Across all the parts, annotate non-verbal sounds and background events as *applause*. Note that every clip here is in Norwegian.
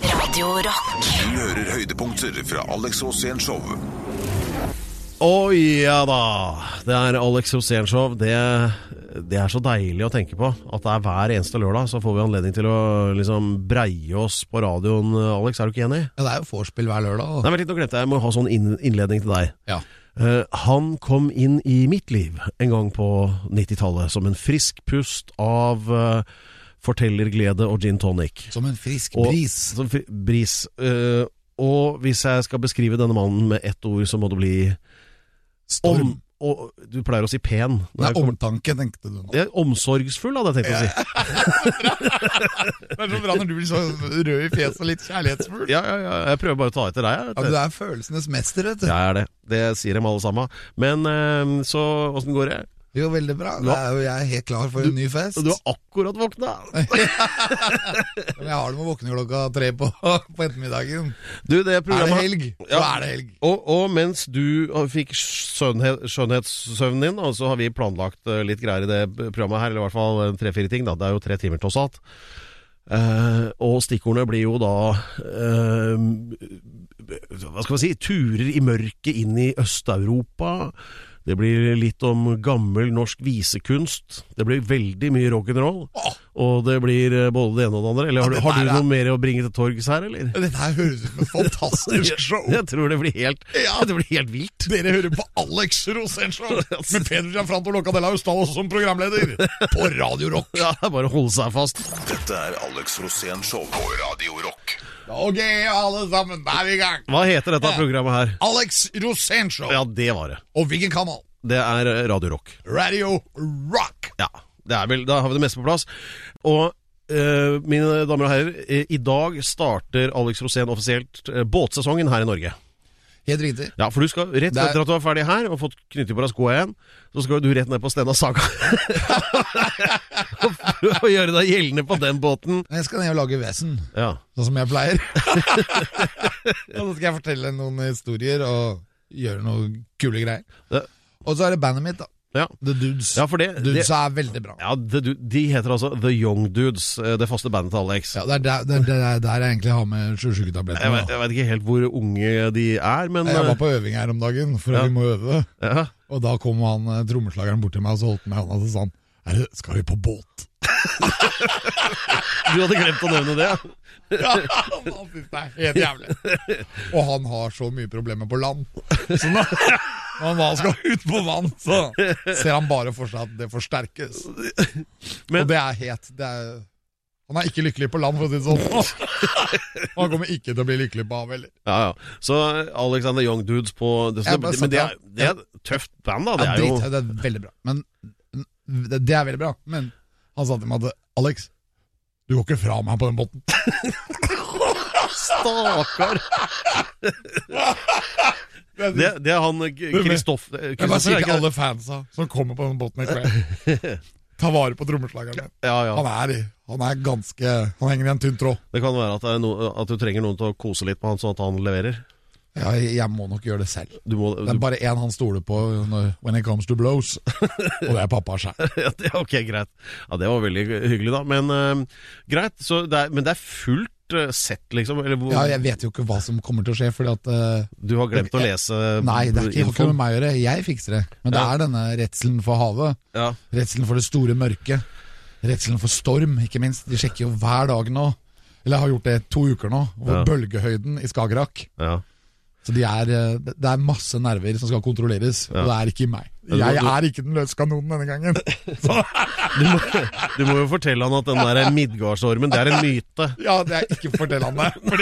Radio Rock. Du hører høydepunkter fra Alex Rosén Show. Å ja da! Det er Alex Rosén-show. Det, det er så deilig å tenke på. At det er hver eneste lørdag så får vi anledning til å liksom breie oss på radioen. Alex, er du ikke enig? Ja, det er jo vorspiel hver lørdag. og- Nei, vent litt, nå glemte jeg. Jeg må ha sånn inn- innledning til deg. Ja. Eh, han kom inn i mitt liv en gang på 90-tallet som en frisk pust av eh, fortellerglede og gin tonic. Som en frisk Og- bris. Som fri, bris. Eh, og hvis jeg skal beskrive denne mannen med ett ord, så må det bli Storm. om, og, Du pleier å si pen. når Nei, jeg kommer- omtanke, tenkte du. nå. Ja, omsorgsfull, hadde jeg tenkt å si. Det er så bra når du blir så rød i fjeset og litt kjærlighetsfull. Ja, ja, ja, jeg prøver bare å ta etter deg. jeg, Ja, vet du du. er følelsenes mester, vet du. Jeg er det. Det sier dem alle sammen. Men eh, så åssen går det? Jo, veldig bra. Da er jo jeg helt klar for en ny fest. Du har akkurat våkna! Men jeg har det med å våkne klokka tre på, på ettermiddagen. Du, det Er det programmet helg? Så Ja. er det helg. Og, og mens du fikk skjønnhet, skjønnhetssøvnen din, og så har vi planlagt eh, litt greier i det programmet her, eller i hvert fall eh, tre-fire ting, da. Det er jo tre timer tross alt. Eh, og stikkordene blir jo da eh, Hva skal man si? Turer i mørket inn i Øst-Europa. Det blir litt om gammel norsk visekunst. Det blir veldig mye rock'n'roll. Åh. Og det blir eh, både det ene og det andre. Eller har, Ja, du- Eh, det har der du er- noe mer å bringe til torgs her, eller? Dette her høres ut som et fantastisk show. *laughs* Jeg tror det blir helt, det blir helt vilt. Dere hører på Alex Rosenshov med Peder Gianfranto Locadella Ustalo som programleder på Radio Rock. *laughs* Ja, det er bare å holde seg fast. Dette er Alex Rosén Show på Radio Rock. Ok, alle sammen, da er vi i gang. Hva heter dette Ja. programmet her? Alex Rosenshov. Ja, det var det. Og hvilken kanal? Det er eh, Radio Rock. Radio Rock. Ja, det er vel, da har vi det meste på plass. Og eh, mine damer og herrer, eh, i dag starter Alex Rosén offisielt eh, båtsesongen her i Norge. Helt riktig. Ja, for du skal rett Det er- etter at du er ferdig her og fått knyttet på deg skoa igjen, så skal du rett ned på Stena Saga. *laughs* og prøve å gjøre deg gjeldende på den båten. Jeg skal ned og lage vesen, Ja. sånn som jeg pleier. *laughs* og så skal jeg fortelle noen historier og gjøre noen kule greier. Det- Og så er det bandet mitt, da. Ja. The Dudes. ja, for det, det Dudes er veldig bra. ja, det, du- De heter altså The Young Dudes, eh, det faste bandet til Alex. Ja, det er der, det er der, der jeg egentlig har med Jeg sjuketablettene. vet, jeg vet ikke helt hvor unge de er, men Jeg var på øving her om dagen, for Ja. vi må øve. ja. Og da kom han eh, trommeslageren bort til meg og så holdt han meg i hånda og så sa han er det, Skal vi på båt? Du hadde glemt å nevne det. ja. Ja, han synes det er helt jævlig. *laughs* Og han har så mye problemer på land. Så når når han da skal ut på vann, så ser han bare for seg at det forsterkes. Men- og det er het. Det er, han er ikke lykkelig på land, for å si det sånn. *laughs* Og han kommer ikke til å bli lykkelig på havet heller. Ja, ja. Så Alexander Young Dudes på det, Jeg bare Men det satt er, det er et tøft band, da. Det Ja, er jo drit, det er veldig bra. Men det, det er veldig bra. Men han sa til meg at Alex, du går ikke fra meg på den båten. Stakkar! Det, det er han eh, Kristoff eh, Jeg bare Kristoffer, sier er til ikke det? alle fansa som kommer på den båten i kveld. *laughs* Ta vare på trommeslageren. Ja, ja. Han er, han er ganske Han henger i en tynn tråd. Det kan være at, det er no, at du trenger noen til å kose litt med han, sånn at han leverer. Ja, jeg må nok gjøre det selv. Du må Det er du, bare én han stoler på når, when it comes to blows, *laughs* og det er pappa sjæl. *laughs* ja, det- Ok, greit. Ja, Det var veldig hyggelig, da. Men eh, greit. Så det er, men det er fullt eh, sett, liksom? Eller hvor, Ja, jeg vet jo ikke hva som kommer til å skje, fordi at eh, du har glemt å lese Nei, det er ikke, har ikke infoen? med meg å gjøre. Jeg fikser det. Men Ja. det er denne redselen for havet. Ja. Redselen for det store mørket. Redselen for storm, ikke minst. De sjekker jo hver dag nå. Eller har gjort det to uker nå. Over Ja. bølgehøyden i Skagerrak. Ja. Så de er, eh, det det er masse nerver som skal kontrolleres, og det er ikke i meg. du- Jeg du- er ikke den løse kanonen denne gangen. *laughs* Du må, du må jo fortelle han at den der Midgardsormen, det er en myte. Ja, det er ikke fortell han det, for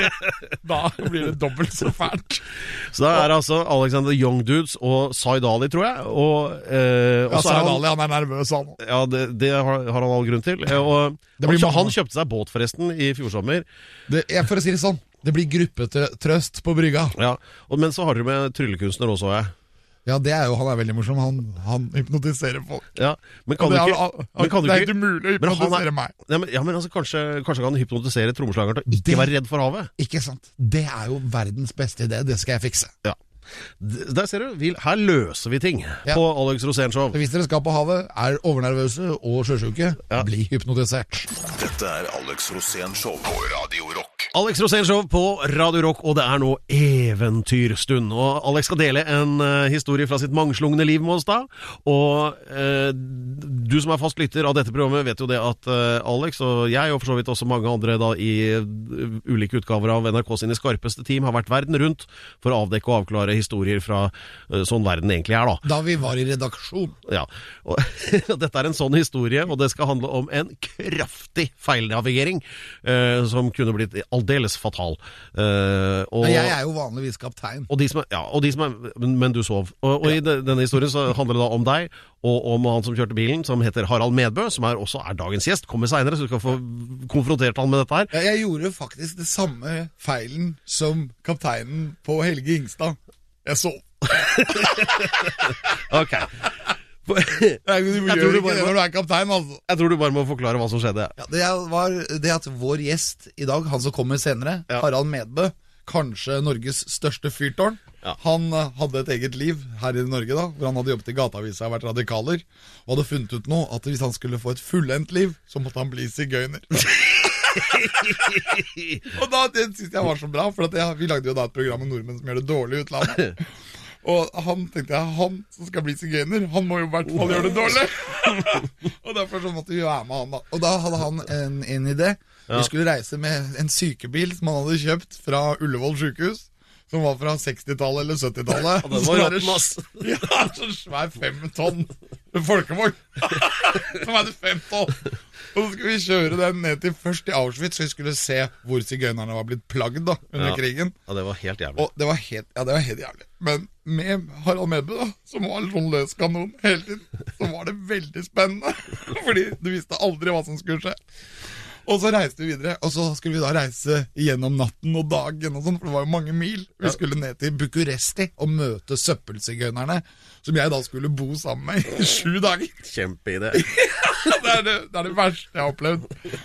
da blir det dobbelt så fælt. Så det er altså Alexander Young Dudes og Zaid Ali, tror jeg. Og, eh, og Ja, så er han, Sarah han er nervøs, han. ja, det, det har, har han all grunn til. Eh, Og, Det blir han, mange. han kjøpte seg båt, forresten, i fjor sommer. Det, jeg, for å si det sånn, det blir gruppetrøst på brygga. Ja. Og, men så har dere med tryllekunstner også, så jeg. Ja, det er jo, han er veldig morsom. Han, han hypnotiserer folk. Ja, men kan du det er, ikke men kan du det er ikke- helt umulig å Men han er- hypnotisere meg. Ja, men, ja, men altså, kanskje, kanskje kan han hypnotisere trommeslageren til å ikke Det- være redd for havet? Ikke sant? Det er jo verdens beste idé, det skal jeg fikse. Ja. D- Der ser du. Vi, her løser vi ting på Alex Rosén Show. Så Hvis dere skal på havet, er overnervøse og sjøsjuke, bli hypnotisert. Dette er Alex Rosén Show på Radio Rock. Alex Rosén Show på Radio Rock, og det er nå eventyrstund. Og Alex skal dele en eh, historie fra sitt mangslungne liv med oss da. Og eh, du som er fast lytter av dette programmet, vet jo det at eh, Alex og jeg, og for så vidt også mange andre da i eh, ulike utgaver av NRK sine skarpeste team, har vært verden rundt for å avdekke og avklare historier fra eh, sånn verden egentlig er, da. Da vi var i redaksjon. Ja, og *laughs* Dette er en sånn historie, og det skal handle om en kraftig feilnavigering eh, som kunne blitt aldeles fatal. Eh, og, Men jeg er jo vanligvis kaptein. og de som er, ja, og de som er, men, men du sov. Og, og I de- denne historien så handler det da om deg og om han som kjørte bilen, som heter Harald Medbø, som er, også er dagens gjest. Kommer seinere, så du skal få konfrontert han med dette her. Jeg- Jeg gjorde faktisk det samme feilen som kapteinen på Helge Ingstad. Jeg sov. Ok *laughs* Jeg, du tror gjør du ikke bare det må- når du er kaptein, altså. Jeg tror du bare må forklare hva som skjedde. Ja, det er- var det at vår gjest i dag, han som kommer senere, Ja. Harald Medbø, kanskje Norges største fyrtårn, Ja. han eh, hadde et eget liv her i Norge da, hvor han hadde jobbet i gateavisa og vært radikaler, og hadde funnet ut nå at hvis han skulle få et fullendt liv, så måtte han bli sigøyner. og da, det synes jeg var så bra, for at jeg, vi lagde jo da et program om nordmenn som gjør det dårlig i *laughs* utlandet. Og han tenkte jeg, han som skal bli sigøyner, han må jo i hvert fall gjøre det dårlig. *laughs* og derfor så måtte vi være med han da. Og da hadde han en, en idé. Vi skulle reise med en sykebil som han hadde kjøpt fra Ullevål sykehus. Som var fra 60-tallet eller 70-tallet. den var Så var det råtten, ass. sj- *laughs* Ja, så svær fem tonn folkevogn. Som veide fem tonn. Og så skulle vi kjøre den ned til først til Auschwitz, så vi skulle se hvor sigøynerne var blitt plagd da, under Ja. krigen. *laughs* Ja, Det var helt jævlig. Og det var helt, ja, det var helt jævlig. Men med Harald Medbø, da, som var en sånn løs kanon hele tiden, så var det veldig spennende. *laughs* Fordi du visste aldri hva som skulle skje. Og så reiste vi videre, og så skulle vi da reise gjennom natten og dagen og sånn, for det var jo mange mil. Vi skulle ned til Bucuresti og møte søppelsigøynerne, som jeg da skulle bo sammen med i sju dager. Kjempeidé. Det er det, det er det verste jeg har opplevd.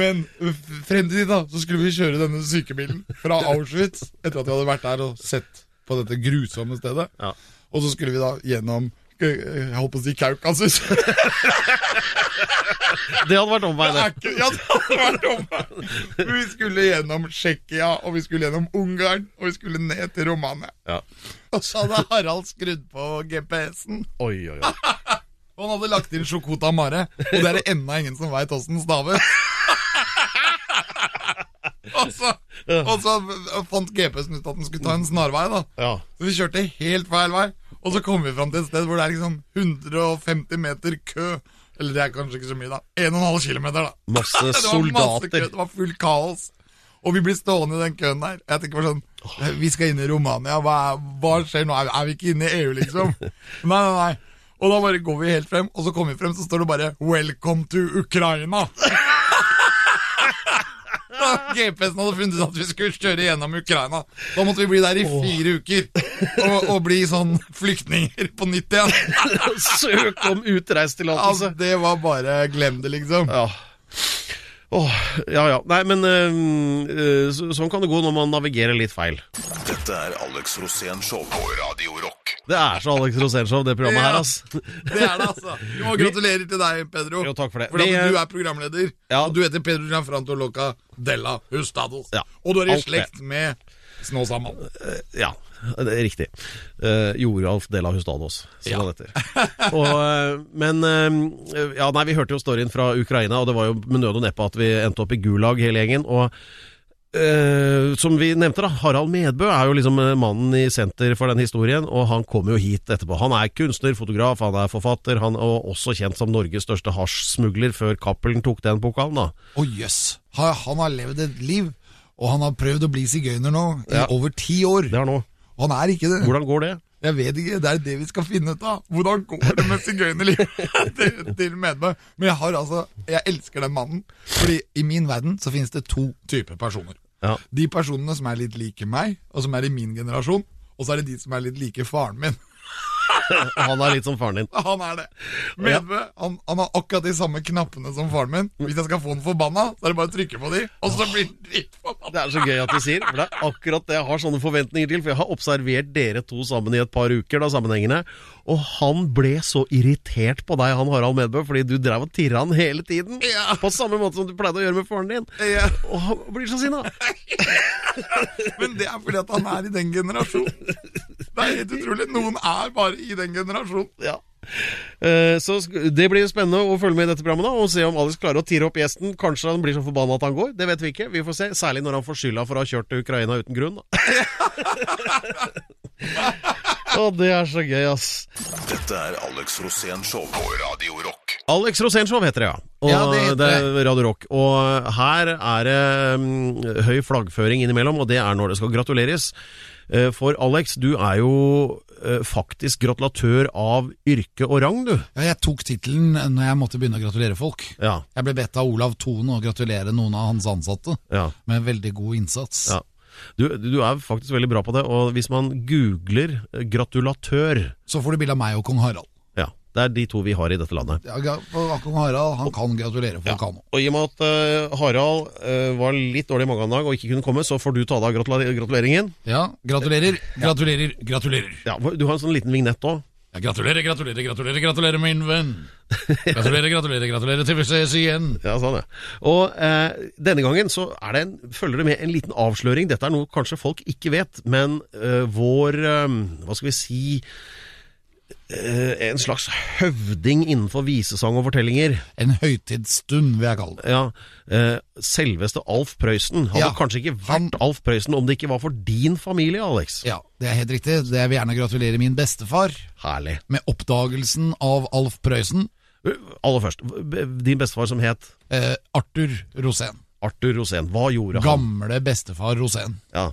Men f- frem til dit da, så skulle vi kjøre denne sykebilen fra Auschwitz, etter at vi hadde vært der og sett på dette grusomme stedet. Ja. Og så skulle vi da gjennom, eh, jeg holdt på å si Kaukasus. *laughs* Det Det hadde vært omvei, det. er ikke, ja, det hadde vært omvei. Men Vi skulle gjennom Tsjekkia, og vi skulle gjennom Ungarn, og vi skulle ned til Romania. Ja. Og så hadde Harald skrudd på GPS-en. Oi, oi, oi. Og han hadde lagt inn Sjokota Mare, og det er det enda ingen som veit åssen staves. *laughs* og, så, og så fant GPS-en ut at den skulle ta en snarvei, da. Ja. Så vi kjørte helt feil vei. Og så kom vi fram til et sted hvor det er liksom 150 meter kø. Eller det er kanskje ikke så mye, da. 1,5 km, da. Masse *laughs* Det var masse kø, soldater. det var fullt kaos. Og vi blir stående i den køen der. Jeg tenker bare sånn Vi skal inn i Romania, hva, er- hva skjer nå? Er, er vi ikke inne i EU, liksom? Nei, nei, nei. Og da bare går vi helt frem, og så kommer vi frem, så står det bare 'Welcome to Ukraina'. *laughs* Da GPS-en hadde funnet ut at vi skulle kjøre gjennom Ukraina. Da måtte vi bli der i fire uker og, og bli sånn flyktninger på nytt igjen. *laughs* *laughs* Søk om Altså, utreisetillatelse. det var bare glem det, liksom. Ja. Åh, ja ja. Nei, men øhm, øh, så, sånn kan det gå når man navigerer litt feil. Dette er Alex Rosén Show på Radio Rock. Det er så Alex Rosénshow, det programmet her, Ja. ass. Det er det, altså. Og gratulerer til deg, Pedro. Jo, takk for det. Fordi at Vi, eh, du er programleder, Ja. og du heter Pedro Gianfranto Loca della Hustados. Ja. Og du er i Alt det. slekt med Snåsamann. Ja, det er riktig. Uh, Joralf Della Hustados, som han heter. *laughs* Og, øh, men øh, Ja, nei, vi hørte jo storyen fra Ukraina, og det var jo med nød og neppe at vi endte opp i Gulag, hele gjengen. Og øh, som vi nevnte, da, Harald Medbø er jo liksom øh, mannen i senter for den historien, og han kommer jo hit etterpå. Han er kunstner, fotograf, han er forfatter, han er også kjent som Norges største hasjsmugler før Cappelen tok den pokalen, da. Å jøss. Ha- Han har levd et liv, og han har prøvd å bli sigøyner nå i Ja. over ti år. Det er nå. Og han er ikke det. Hvordan går det? Jeg vet ikke, det er det vi skal finne ut av. Hvordan går det med sigøynerlivet *laughs* til, til Medbø? Men jeg har altså, jeg elsker den mannen. Fordi i min verden så finnes det to typer personer. Ja. *laughs* De personene som er litt like meg, og som er i min generasjon, og så er det de som er litt like faren min. Han er litt som faren din. *laughs* Han er det. Medbø han, han har akkurat de samme knappene som faren min. Hvis jeg skal få den forbanna, så er det bare å trykke på de, og så blir den dritforbanna. Det er så gøy at du sier, for det er akkurat det jeg har sånne forventninger til. For jeg har observert dere to sammen i et par uker, da, sammenhengende. Og han ble så irritert på deg, han Harald Medbø, fordi du drev og tirra han hele tiden. Ja. På samme måte som du pleide å gjøre med faren din. Ja, Og han blir så sinna. Men det er fordi at han er i den generasjonen. Det er helt utrolig. Noen er bare i den generasjonen. Ja. Eh, Så sk- det blir spennende å følge med i dette programmet da, og se om Alex klarer å tire opp gjesten. Kanskje han blir så forbanna at han går. Det vet vi ikke. Vi får se. Særlig når han får skylda for å ha kjørt til Ukraina uten grunn. Da. *laughs* Å, det er så gøy, ass. Dette er Alex Rosén Show på Radio Rock. Alex Rosénshow heter det, ja. Og Ja, det heter er Radio Rock. Og her er det mm, høy flaggføring innimellom, og det er når det skal gratuleres. Eh, For Alex, du er jo eh, faktisk gratulatør av yrke og rang, du. Ja, jeg tok tittelen når jeg måtte begynne å gratulere folk. Ja, Jeg ble bedt av Olav Thon å gratulere noen av hans ansatte ja. med veldig god innsats. Ja. Du, du er faktisk veldig bra på det, og hvis man googler eh, gratulatør Så får du bilde av meg og kong Harald. Ja, det er de to vi har i dette landet. Ja, ga- og kong Harald han kan gratulere folk, han òg. Og i og med at eh, Harald eh, var litt dårlig i magen i dag og ikke kunne komme, så får du ta deg av gratula- gratuleringen. Ja, gratulerer, gratulerer, gratulerer. Ja, du har en sånn liten vignett òg. Ja, gratulerer, gratulerer, gratulerer, gratulerer, min venn. Gratulerer, gratulerer, gratulerer til vi ses igjen. Ja, sånn, ja. Og eh, denne gangen så er det en, følger det med en liten avsløring. Dette er noe kanskje folk ikke vet, men eh, vår eh, Hva skal vi si eh, En slags høvding innenfor visesang og fortellinger. En høytidsstund, vil jeg kalle det. Ja, eh, Selveste Alf Prøysen hadde Ja, kanskje ikke vært han- Alf Prøysen om det ikke var for din familie, Alex. Ja, det er helt riktig. Det jeg vil gjerne gratulere min bestefar Herlig. med oppdagelsen av Alf Prøysen, Uh, Aller først, b- din bestefar som het eh, Arthur Rosén. Arthur Rosén, hva gjorde han? Gamle bestefar Rosén. Ja,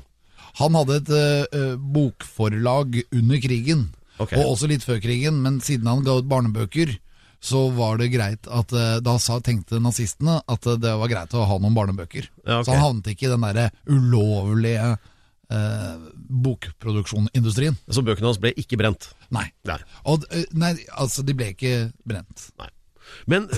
Han hadde et eh, eh, bokforlag under krigen, Ok. og også litt før krigen, men siden han ga ut barnebøker, så var det greit at eh, Da sa, tenkte nazistene at eh, det var greit å ha noen barnebøker. Ja, ok. Så han havnet ikke i den derre ulovlige eh, bokproduksjonindustrien. Så bøkene hans ble ikke brent. Nei. Nei. Og, eh, nei, altså, de ble ikke brent. Nei. Men *laughs*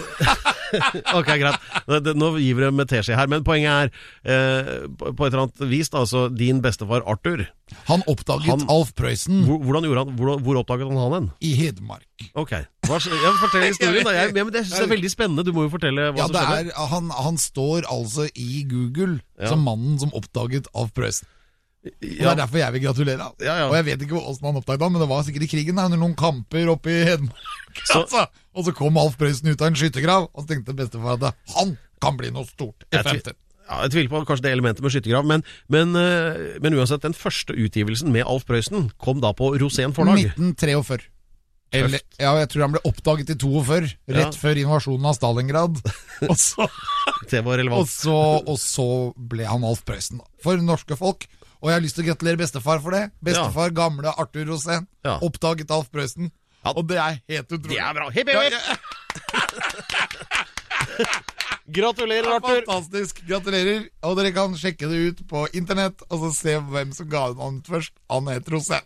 Ok, greit. Det- det- Nå gir vi det med teskje her. Men poenget er, eh, på på et eller annet vis, da, altså din bestefar Arthur, Han oppdaget Han- Alf Prøysen hvor, hvordan gjorde han, hvor, hvor oppdaget han han hen? i Hedmark. Ok. Hva, skj- ja, fortell historien, da. Jeg, ja, men det synes jeg er veldig spennende. Du må jo fortelle hva Ja, som det skjedde. er, han, han står altså i Google Ja. som mannen som oppdaget Alf Prøysen. Og Ja. Det er derfor jeg vil gratulere han. Ja, ja. Og jeg vet ikke åssen han oppdaget han, men det var sikkert i krigen, da, under noen kamper oppe i Hedmark. Så- altså. Og så kom Alf Prøysen ut av en skyttergrav, og så tenkte bestefar at han kan bli noe stort i Jeg tvi- fremtiden. Ja, jeg tviler på kanskje det elementet med skyttergrav, men, men, eh, men uansett, den første utgivelsen med Alf Prøysen kom da på Rosén forlag. 1943. Eller, ja, jeg tror han ble oppdaget i 42, Ja. rett før invasjonen av *laughs* Stalingrad. Og så, Det var og relevant. så, og så ble han Alf Prøysen, da. For norske folk. Og jeg har lyst til å gratulere bestefar for det. Bestefar, gamle Arthur Rosén, Ja. oppdaget Alf Prøysen. Ja. Og det er helt utrolig. Det er bra. Hipp, hipp, hipp. Ja, ja, Gratulerer, Arthur. fantastisk. Gratulerer. Og dere kan sjekke det ut på internett, og så se hvem som ga den navnet først. Han het Rosé.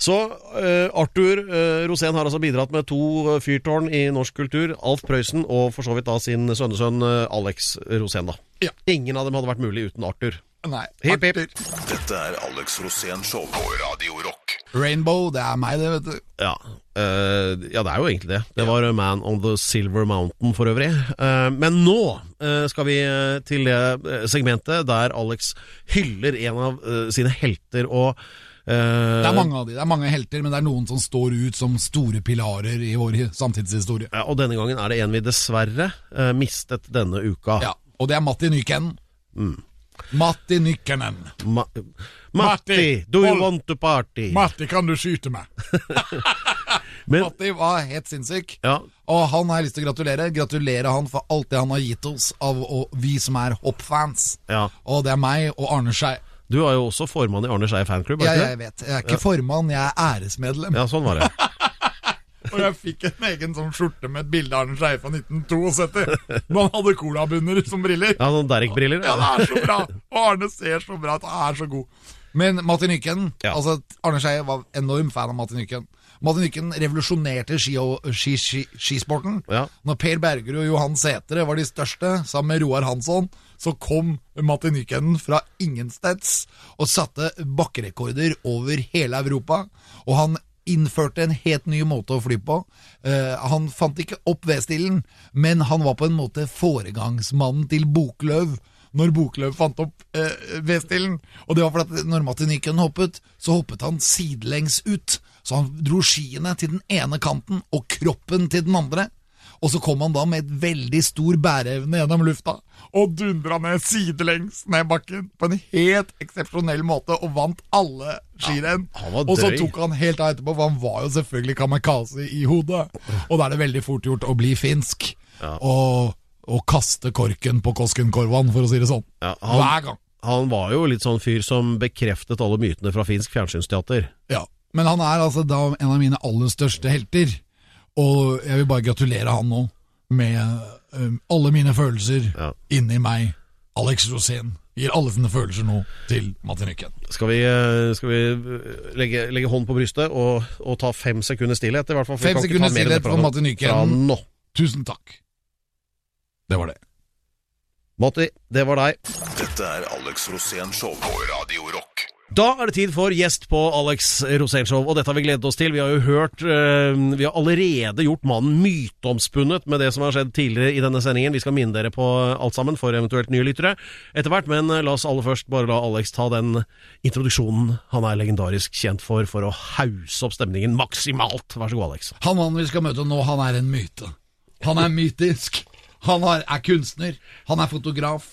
Så eh, Arthur eh, Rosén har altså bidratt med to eh, fyrtårn i norsk kultur. Alf Prøysen og for så vidt da sin sønnesønn eh, Alex Rosén, da. Ja. Ingen av dem hadde vært mulig uten Arthur. Nei. Hipp, hipp. Arthur. Dette er Alex Rosén Show på Radio Rock. Rainbow, det er meg, det, vet du. Ja, eh, ja, det er jo egentlig det. Det var eh, Man on the Silver Mountain for øvrig. Eh, men nå eh, skal vi eh, til det eh, segmentet der Alex hyller en av eh, sine helter og eh, Det er mange av de. Det er mange helter, men det er noen som står ut som store pilarer i vår samtidshistorie. Ja, og denne gangen er det en vi dessverre eh, mistet denne uka. Ja, Og det er Matti Nykänen. Mm. Matti Nykänen. Ma Matti, Matti, do you hold- want to party? Matti, kan du skyte meg? Men, *laughs* Matti var helt sinnssyk. ja, Og han har jeg lyst til å gratulere. Gratulere han for alt det han har gitt oss av å, vi som er hoppfans. ja. Og det er meg og Arne Skei. Du er jo også formann i Arne Skei fanklubb, er Jeg, ikke jeg det? vet. Jeg er ikke formann, jeg er æresmedlem. Ja, sånn var det. Og jeg fikk en egen sånn skjorte med et bilde av Arne Skeie fra 1972. Men han hadde colabunner som briller. Ja, sånn Derek-briller. Ja, det er så bra! Og Arne ser så bra ut, han er så god. Men Martin Nyken, Ja. altså Arne Skei var enorm fan av Martin Nyken. Martin Nykken revolusjonerte ski ski ski skisporten. Ja. Når Per Bergerud og Johan Sætre var de største, sammen med Roar Hansson, så kom Martin Nykken fra ingensteds og satte bakkerekorder over hele Europa. Og han innførte en helt ny måte å fly på. Eh, han fant ikke opp V-stilen, men han var på en måte foregangsmannen til Bokløv. Når Bokløv fant opp eh, V-stilen. Og det var fordi at når Martin Nykken hoppet, så hoppet han sidelengs ut. Så han dro skiene til den ene kanten og kroppen til den andre. Og så kom han da med et veldig stor bæreevne gjennom lufta, og dundra ned sidelengs ned bakken på en helt eksepsjonell måte, og vant alle skirenn. Ja, han var og så drøy. tok han helt av etterpå, for han var jo selvfølgelig kamikaze i hodet. Og da er det veldig fort gjort å bli finsk, og, og kaste korken på Koskenkorvan, for å si det sånn. Ja, han- Hver gang. Han var jo litt sånn fyr som bekreftet alle mytene fra finsk fjernsynsteater. Ja, men han er altså da en av mine aller største helter, og jeg vil bare gratulere han nå med øhm, alle mine følelser Ja. inni meg. Alex Rosén gir alle sine følelser nå til Martin Nykken. Skal vi, eh, skal vi eh, legge, legge hånden på brystet og, og ta fem sekunder stillhet? i hvert fall? for vi Fem kan ikke ta mer sekunder enn stillhet det for fra nå. Martin Fra Nykken. nå. Tusen takk. Det var det. Matti, det var deg. Dette er Alex Rosén Show på Radio Rock. Da er det tid for gjest på Alex Rosénshow, og dette har vi gledet oss til. Vi har jo hørt eh, Vi har allerede gjort mannen myteomspunnet med det som har skjedd tidligere i denne sendingen. Vi skal minne dere på alt sammen for eventuelt nye lyttere etter hvert, men eh, la oss aller først bare la Alex ta den introduksjonen han er legendarisk kjent for, for å hause opp stemningen maksimalt. Vær så god, Alex. Han mannen vi skal møte nå, han er en myte. Han er mytisk. Han er, er kunstner. Han er fotograf.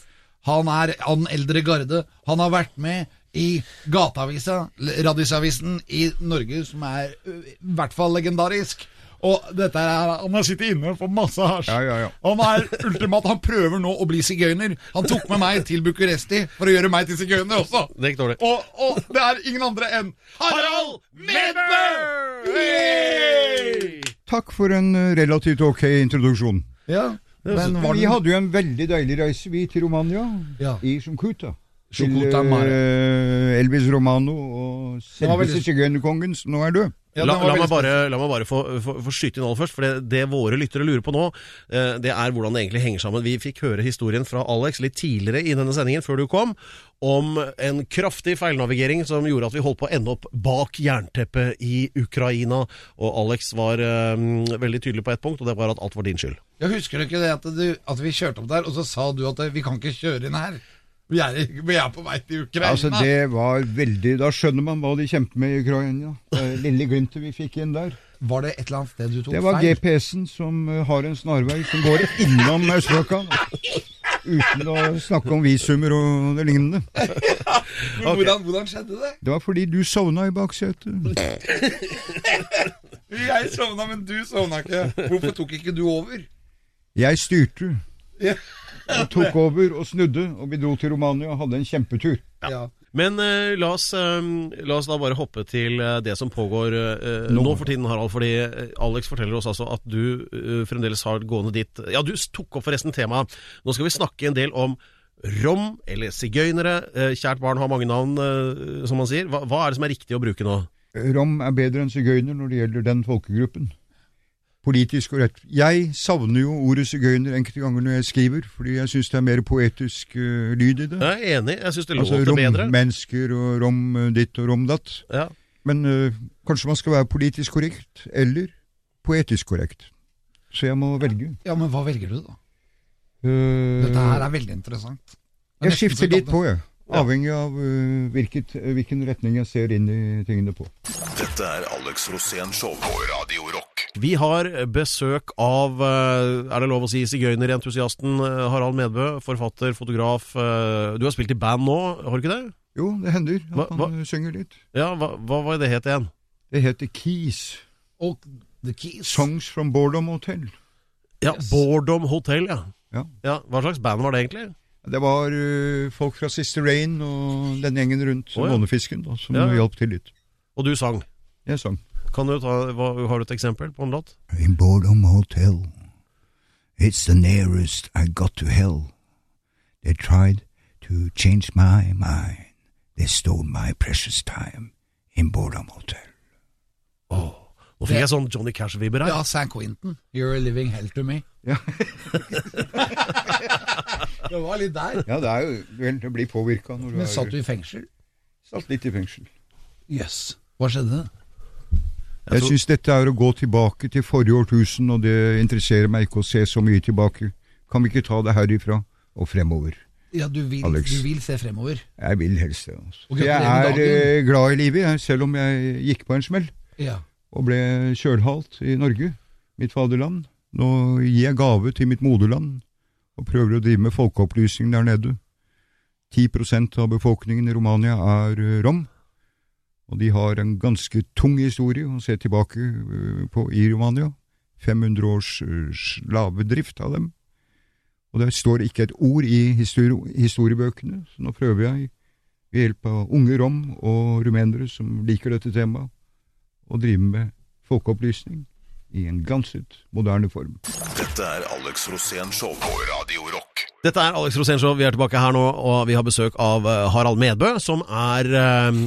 Han er av den eldre garde. Han har vært med i Gateavisa, l- Radisavisen i Norge, som er ø, i hvert fall legendarisk. Og dette er, Han har sittet inne for masse hasj. Ja, ja, ja. Han er ultimat. Han prøver nå å bli sigøyner. Han tok med meg til Bucuresti for å gjøre meg til sigøyner også. Det gikk dårlig. Og, og det er ingen andre enn Harald Medbø! Yay! Takk for en eh, relativt ok introduksjon. Ja, men var Vi den hadde jo en veldig deilig reise, vi, til Romania. Ja. I Shumkuta. Shumkuta til eh, Elvis Romano og var selveste veldig- sigøynerkongen, som nå er død. ja, la, den var la, veldig meg bare, la meg bare få, få, få skyte inn aller først, for det, det våre lyttere lurer på nå, eh, det er hvordan det egentlig henger sammen. Vi fikk høre historien fra Alex litt tidligere i denne sendingen, før du kom, om en kraftig feilnavigering som gjorde at vi holdt på å ende opp bak jernteppet i Ukraina. Og Alex var eh, veldig tydelig på ett punkt, og det var at alt var din skyld. Jeg husker ikke det at, du, at vi kjørte opp der, og så sa du at eh, vi kan ikke kjøre inn her. Vi er, i- vi er på vei til Ukraina. Altså, det var veldig Da skjønner man hva de kjemper med i Ukraina. Det lille glimtet vi fikk inn der. Var det et eller annet sted du tok Det var feil? GPS-en som eh, har en snarvei som går innom Østblokka. Uten å snakke om visumer og det lignende. Men Hvordan, hvordan skjedde det? Det var fordi du sovna i baksetet. Jeg sovna, men du sovna ikke. Hvorfor tok ikke du over? Jeg styrte. Ja. Og tok over og snudde, og vi dro til Romania og hadde en kjempetur. Ja. Men eh, la, oss, eh, la oss da bare hoppe til eh, det som pågår eh, nå. for tiden, Harald. Fordi eh, Alex forteller oss altså at du eh, fremdeles har gående ditt Ja, du tok opp forresten temaet. Nå skal vi snakke en del om rom, eller sigøynere. Eh, kjært barn har mange navn, eh, som man sier. Hva, hva er det som er riktig å bruke nå? Rom er bedre enn sigøyner når det gjelder den folkegruppen. Politisk og rett. Jeg savner jo ordet sigøyner enkelte ganger når jeg skriver, fordi jeg syns det er mer poetisk eh, lyd i det. Jeg er enig, jeg syns det Altså låter bedre. rommennesker og rom eh, ditt og rom datt. Ja. Men eh, kanskje man skal være politisk korrekt eller poetisk korrekt. Så jeg må velge. ja, men hva velger du, da? Eh, Dette her er veldig interessant. Det er Jeg nesten så skifter vi litt kan- på, jeg. Avhengig av eh, hvilket, hvilken retning jeg ser inn i tingene på. Dette er Alex Rosén Show på Radio Rock. Vi har besøk av, eh, er det lov å si, sigøynerentusiasten eh, Harald Medbø. Forfatter, fotograf. eh, Du har spilt i band nå, har du ikke det? Jo, det hender at Hva- man eh, synger litt. Ja, hva, hva var det det het igjen? Det heter Keys. Og The Keys. Songs from Boredom Hotel. Ja, Yes. Boredom Hotel, ja. Ja. Hva slags band var det egentlig? Det var eh, folk fra Sister Rain og den gjengen rundt Å, ja. Månefisken da, som Ja, ja. hjalp til litt. Og du sang. Jeg sang. Kan du ta, hva, har du et eksempel på en låt? In Boredom Hotel, it's the nearest I got to hell. They tried to change my mind. They stole my precious time in Boredom Hotel. Nå fikk jeg sånn Johnny Cash-vibber her. Ja, San Quentin. You're a living hell to me. Ja. *laughs* det var litt der. Ja, det er jo vel, det blir påvirka når du Men er satt du i fengsel? satt litt i fengsel. Jøss. Yes. Hva skjedde? Jeg, tror- syns dette er å gå tilbake til forrige årtusen, og det interesserer meg ikke å se så mye tilbake. Kan vi ikke ta det herifra og fremover? Ja, du vil, Alex. du vil se fremover. Jeg vil helst det. Altså. Og Jeg gratulerer med er dagen. eh, glad i livet, jeg, selv om jeg gikk på en smell Ja. og ble kjølhalt i Norge, mitt faderland. Nå gir jeg gave til mitt moderland og prøver å drive med folkeopplysning der nede. 10 av befolkningen i Romania er eh, rom, og de har en ganske tung historie å se tilbake eh, på i Romania. 500 års eh, slavedrift av dem. Og der står ikke et ord i histori- historiebøkene, så nå prøver jeg ved hjelp av unge rom og rumenere som liker dette temaet, å drive med folkeopplysning i en glanset, moderne form. Dette er Alex Rosén Show på Radio Rock. Dette er Alex Rosénshow, vi er tilbake her nå, og vi har besøk av eh, Harald Medbø, som er eh,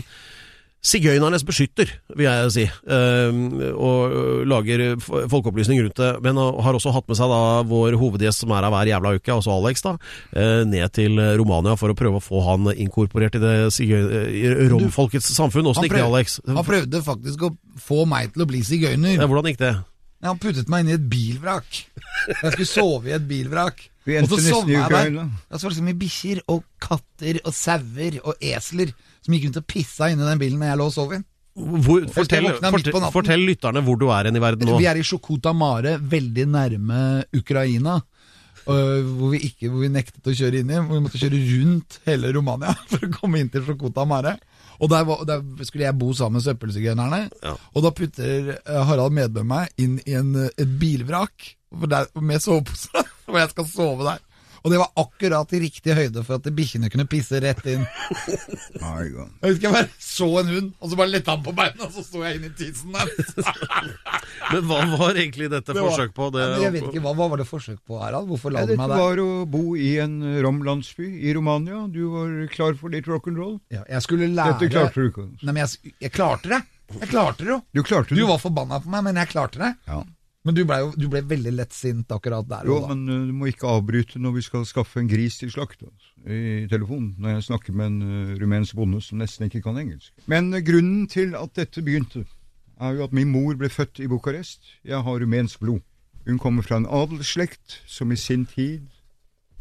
sigøynernes beskytter, vil jeg si, eh, og eh, lager eh, f- folkeopplysning rundt det. Men eh, har også hatt med seg da vår hovedgjest, som er her hver jævla uke, altså Alex, da, eh, ned til eh, Romania for å prøve å få han inkorporert i det sigøy- eh, i romfolkets samfunn. Åssen gikk det, Alex? han prøvde faktisk å få meg til å bli sigøyner. Ja, hvordan gikk det? Ja, Han puttet meg inn i et bilvrak. Jeg skulle sove i et bilvrak. *laughs* Vi endte Og så nesten sovna i jeg der. Ukraina. Ja, så var det så mye bikkjer og katter og sauer og esler som gikk rundt og pissa inni den bilen når jeg lå og sov i. Hvor, fortell, våkna midt på fortell, natten. fortell lytterne hvor du er hen i verden nå. Vi er i Sjokota Mare, veldig nærme Ukraina. øh, hvor, vi ikke, hvor vi nektet å kjøre inn i. Hvor vi måtte kjøre rundt hele Romania *laughs* for å komme inn til Sjokota Mare. Og der, var, der skulle jeg bo sammen med søppelsigøynerne. Ja. Og da putter eh, Harald Medbø meg inn i en, eh, et bilvrak hvor der, med sovepose, *laughs* hvor jeg skal sove der. Og det var akkurat i riktig høyde for at bikkjene kunne pisse rett inn. My God. Jeg husker jeg bare så en hund, og så bare letta han på beina, og så sto jeg inn i tisen der. Men hva var egentlig dette var- forsøk på? Det, Ja, men jeg vet ikke, hva, hva var det forsøk på, Harald? Hvorfor la Ja, du dette meg der? var å bo i en eh, romlandsby i Romania. Du var klar for litt rock'n'roll. Ja, jeg skulle lære Dette klarte du ikke. Nei, men jeg, s- jeg klarte det. Jeg klarte det jo. Du klarte Du det. var forbanna på meg, men jeg klarte det. Ja. Men du ble, jo, du ble veldig lett sint akkurat der. Jo, og da. men eh, du må ikke avbryte når vi skal skaffe en gris til slakt altså, i telefonen, når jeg snakker med en eh, rumensk bonde som nesten ikke kan engelsk. Men eh, grunnen til at dette begynte, er jo at min mor ble født i Bucarest. Jeg har rumensk blod. Hun kommer fra en adelsslekt som i sin tid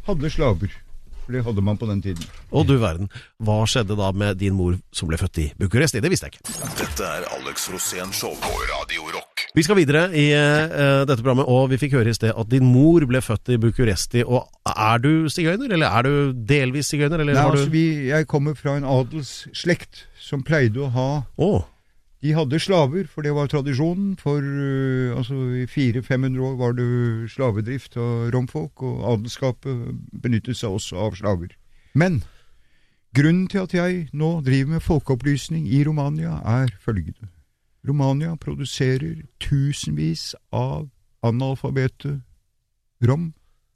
hadde slaver. For det hadde man på den tiden. Og du verden, hva skjedde da med din mor som ble født i Bucuresti? Det visste jeg ikke. Dette er Alex Rosén Show på Radio Rock. Vi skal videre i eh, dette programmet, og vi fikk høre i sted at din mor ble født i Bucuresti. Og er du sigøyner, eller er du delvis sigøyner, eller Nei, var altså, du vi, jeg kommer fra en adelsslekt som pleide å ha Å, De hadde slaver, for det var tradisjonen. For eh, altså, i 400-500 år var det slavedrift av romfolk, og adelskapet benyttet seg også av slaver. Men grunnen til at jeg nå driver med folkeopplysning i Romania, er følgende. Romania produserer tusenvis av analfabete rom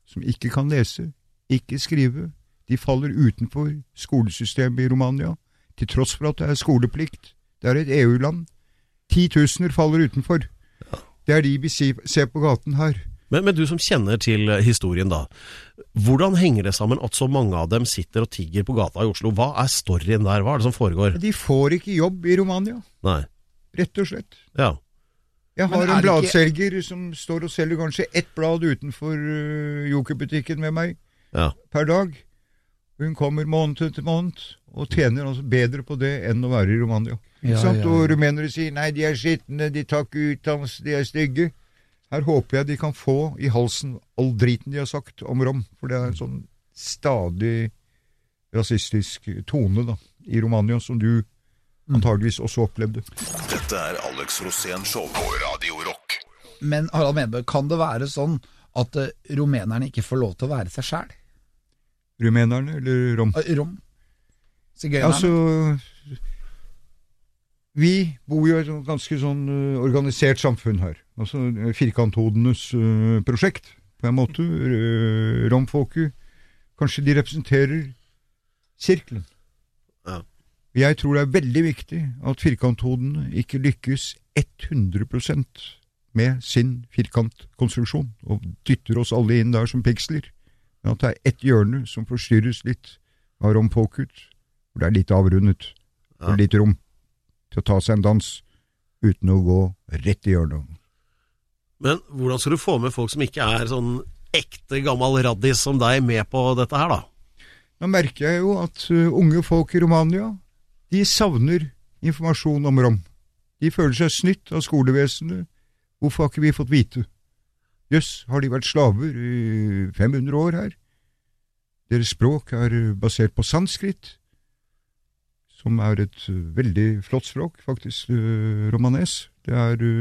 som ikke kan lese, ikke skrive. De faller utenfor skolesystemet i Romania, til tross for at det er skoleplikt. Det er et EU-land. Titusener faller utenfor. Det er de vi si- ser på gaten her. men, men du som kjenner til eh, historien, da. Hvordan henger det sammen at så mange av dem sitter og tigger på gata i Oslo? Hva er storyen der? Hva er det som foregår? De får ikke jobb i Romania, Nei. rett og slett. Ja. Jeg Men er har en det ikke- bladselger som står og selger kanskje ett blad utenfor øh, jokerbutikken med meg ja. per dag. Hun kommer måned etter måned og tjener altså bedre på det enn å være i Romania. Ikke Ja, sant? ja, ja. Og rumenere sier nei, de er skitne, de tar ikke utdannelse, de er stygge. Her håper jeg de kan få i halsen all driten de har sagt om rom, for det er en sånn stadig rasistisk tone da, i Romania som du Mm. antageligvis også opplevde. Dette er Alex Rosén Show på Radio Rock. Men Harald Medbø, kan det være sånn at eh, rumenerne ikke får lov til å være seg sjæl? Rumenerne eller rom? Eh, Rom? Sigøynerne? Altså, vi bor jo i et sånt ganske sånn eh, organisert samfunn her. Altså eh, firkanthodenes eh, prosjekt, på en måte. Eh, Romfolket. Kanskje de representerer sirkelen. Ja. Jeg tror det er veldig viktig at firkanthodene ikke lykkes 100 med sin firkantkonstruksjon og dytter oss alle inn der som piksler. Men at det er ett hjørne som forstyrres litt av rompokut, hvor det er litt avrundet og litt rom til å ta seg en dans uten å gå rett i hjørnet. Men hvordan skal du få med folk som ikke er sånn ekte gammel raddis som deg, med på dette her, da? Nå merker jeg jo at ø, unge folk i Romania de savner informasjon om rom. De føler seg snytt av skolevesenet. Hvorfor har ikke vi fått vite? Jøss, har de vært slaver i 500 år her? Deres språk er ø, basert på sanskrit, som er et ø, veldig flott språk, faktisk, ø, romanes. Det er ø,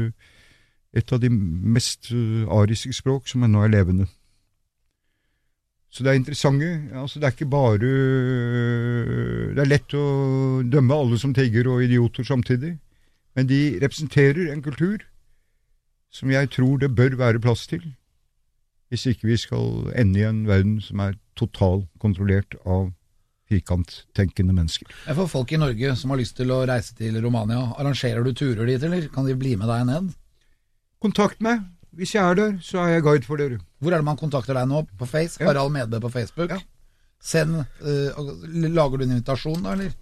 et av de mest ø, ariske språk som ennå er levende. Så det er interessante. Altså, det er ikke bare Det er lett å dømme alle som tigger og idioter samtidig, men de representerer en kultur som jeg tror det bør være plass til, hvis ikke vi skal ende i en verden som er totalt kontrollert av firkanttenkende mennesker. For folk i Norge som har lyst til å reise til Romania, arrangerer du turer dit, eller kan de bli med deg ned? Kontakt meg. Hvis jeg er der, så er jeg guide for dere. Hvor er det man kontakter deg nå? På Face? Ja. Harald Medbe på Facebook? Ja. Send eh, og- Lager du en invitasjon, da, eller?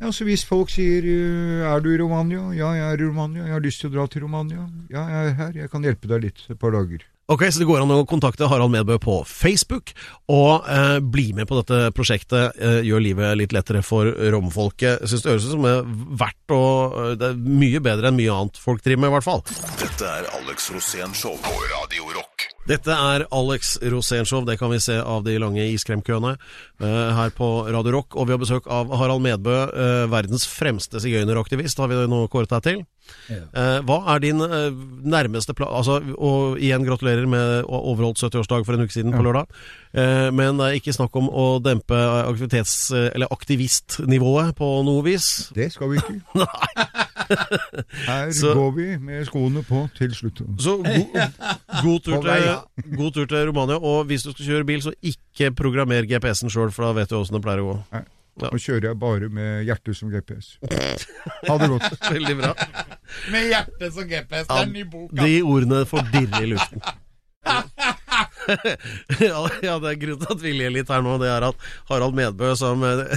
Ja, så Hvis folk sier øh, 'er du i Romania', 'ja, jeg er i Romania', 'jeg har lyst til å dra til Romania', 'ja, jeg er her, jeg kan hjelpe deg litt et par dager'. Ok, så det går an å kontakte Harald Medbø på Facebook, og eh, bli med på dette prosjektet. Eh, gjør livet litt lettere for romfolket. Jeg synes det høres ut som det er verdt å eh, Det er mye bedre enn mye annet folk driver med, i hvert fall. Dette er Alex Rosén Show på Radio Rock. Dette er Alex Rosénshow, det kan vi se av de lange iskremkøene eh, her på Radio Rock. Og vi har besøk av Harald Medbø, eh, verdens fremste sigøyneraktivist, har vi nå kåret deg til. Eh, hva er din eh, nærmeste plan... Altså, og igjen gratulerer med å ha overholdt 70-årsdag for en uke siden på lørdag. Eh, men det er ikke snakk om å dempe eh, aktivitets- eller aktivistnivået på noe vis. Det skal vi ikke. Her Så- går vi med skoene på til slutt. Så *laughs* go, god, tur På vei, til, god tur til Romania. Og hvis du skal kjøre bil, så ikke programmer GPS-en sjøl, for da vet du åssen det pleier å gå. Nå kjører jeg bare med hjertet som GPS. Ha det godt. Veldig bra. Med hjertet som GPS. Det er en ny bok. ass. De ordene får dirre i luften. ja, ja, det er grunnen til at vi ler litt her nå. Det er at Harald Medbø, som eh,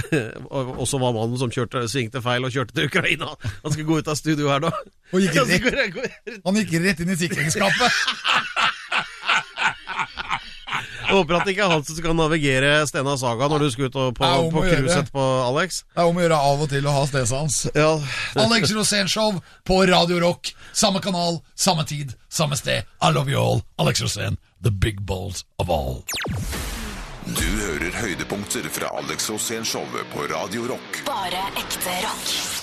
også var mannen som kjørte, svingte feil og kjørte til Ukraina Han skal gå ut av studio her nå. Og gikk *laughs* Han rett, skal gå- gå- han gikk rett inn i sikringsskapet. Jeg håper at det ikke er han som skal navigere Stena Saga når du skal ut og på, Ja, om å på gjøre. cruise etterpå, Alex. Det er om å gjøre av og til å ha stedet hans. Ja, Alex Rosén-show på Radio Rock. Samme kanal, samme tid, samme sted. I love you all. Alex Rosén, the big balls of all. Du hører høydepunkter fra Alex Rosén Show på Radio Rock. Bare ekte rock.